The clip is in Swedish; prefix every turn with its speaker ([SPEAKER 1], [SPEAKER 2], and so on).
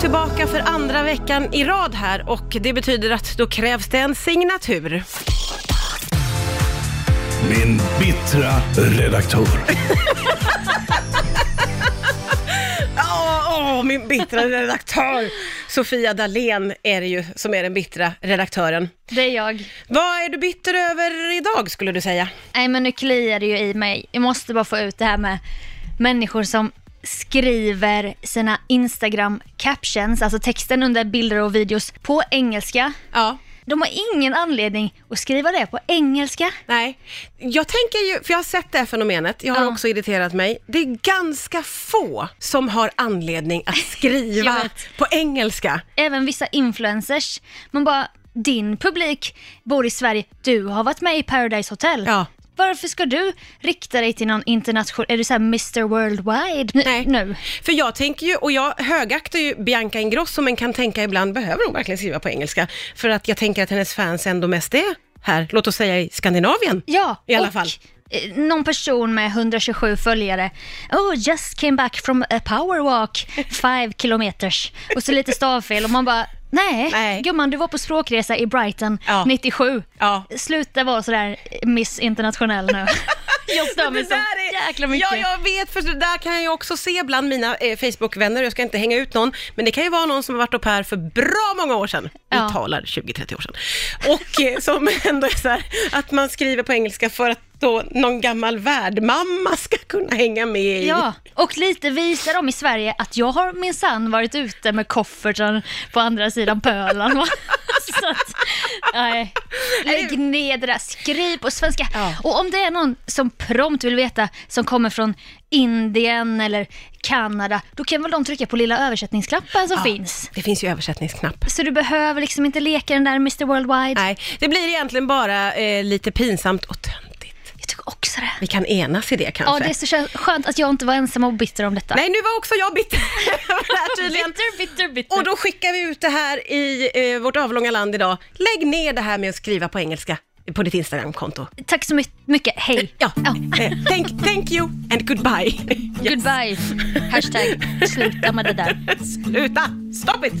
[SPEAKER 1] tillbaka för andra veckan i rad här och det betyder att då krävs det en signatur.
[SPEAKER 2] Min bittra redaktör.
[SPEAKER 1] Åh, åh, min bittra redaktör! Sofia Dalén är det ju som är den bittra redaktören.
[SPEAKER 3] Det är jag.
[SPEAKER 1] Vad är du bitter över idag skulle du säga?
[SPEAKER 3] Nej men nu kliar det ju i mig. Jag måste bara få ut det här med människor som skriver sina Instagram captions, alltså texten under bilder och videos, på engelska.
[SPEAKER 1] Ja.
[SPEAKER 3] De har ingen anledning att skriva det på engelska.
[SPEAKER 1] Nej, jag tänker ju, för jag har sett det här fenomenet, jag har
[SPEAKER 3] Ja.
[SPEAKER 1] också irriterat mig. Det är ganska få som har anledning att skriva
[SPEAKER 3] Jag vet.
[SPEAKER 1] på engelska.
[SPEAKER 3] Även vissa influencers. Man bara, din publik bor i Sverige, du har varit med i Paradise Hotel.
[SPEAKER 1] Ja.
[SPEAKER 3] Varför ska du rikta dig till någon internationell, är du såhär Mr Worldwide nu?
[SPEAKER 1] Nej.
[SPEAKER 3] nu?
[SPEAKER 1] För jag tänker ju, och jag högaktar ju Bianca Ingrosso, men kan tänka ibland, behöver hon verkligen skriva på engelska? För att jag tänker att hennes fans ändå mest är här, låt oss säga i Skandinavien.
[SPEAKER 3] Ja,
[SPEAKER 1] I alla
[SPEAKER 3] och
[SPEAKER 1] fall.
[SPEAKER 3] eh, någon person med 127 följare. Oh, just came back from a powerwalk, five kilometers. Och så lite stavfel och man bara, nej,
[SPEAKER 1] Nej.
[SPEAKER 3] gumman du var på språkresa i Brighton
[SPEAKER 1] Ja.
[SPEAKER 3] 97.
[SPEAKER 1] Ja.
[SPEAKER 3] Sluta vara sådär Miss Internationell nu. Jag stör mig så jäkla mycket.
[SPEAKER 1] Ja, jag vet, för det där kan jag ju också se bland mina eh, Facebook-vänner, jag ska inte hänga ut någon, men det kan ju vara någon som har varit upp här för bra många år sedan,
[SPEAKER 3] Ja.
[SPEAKER 1] vi talar 20-30 år sedan, och eh, som ändå är så här, att man skriver på engelska för att då någon gammal värdmamma ska kunna hänga med i.
[SPEAKER 3] Ja, och lite visar de i Sverige att jag har minsann varit ute med kofferten på andra sidan pölen. Va? Så att, nej. Lägg ner det där, skriv på svenska.
[SPEAKER 1] Ja.
[SPEAKER 3] Och om det är någon som prompt vill veta som kommer från Indien eller Kanada, då kan väl de trycka på lilla översättningsknappen som
[SPEAKER 1] Ja,
[SPEAKER 3] finns.
[SPEAKER 1] Det finns ju översättningsknapp.
[SPEAKER 3] Så du behöver liksom inte leka den där Mr Worldwide.
[SPEAKER 1] Nej, det blir egentligen bara eh, lite pinsamt och töntigt.
[SPEAKER 3] Jag tycker också det.
[SPEAKER 1] Vi kan enas i det kanske.
[SPEAKER 3] Ja, det är så kö- skönt att jag inte var ensam och bitter om detta.
[SPEAKER 1] Nej, nu var också jag bitter över det här tydligen.
[SPEAKER 3] Bitter, bitter, bitter.
[SPEAKER 1] Och då skickar vi ut det här i eh, vårt avlånga land idag. Lägg ner det här med att skriva på engelska på ditt Instagram-konto.
[SPEAKER 3] Tack så my- mycket, hej.
[SPEAKER 1] Ja, eh, thank, thank you and goodbye.
[SPEAKER 3] Goodbye. Hashtag sluta med det där.
[SPEAKER 1] Sluta! Stop it!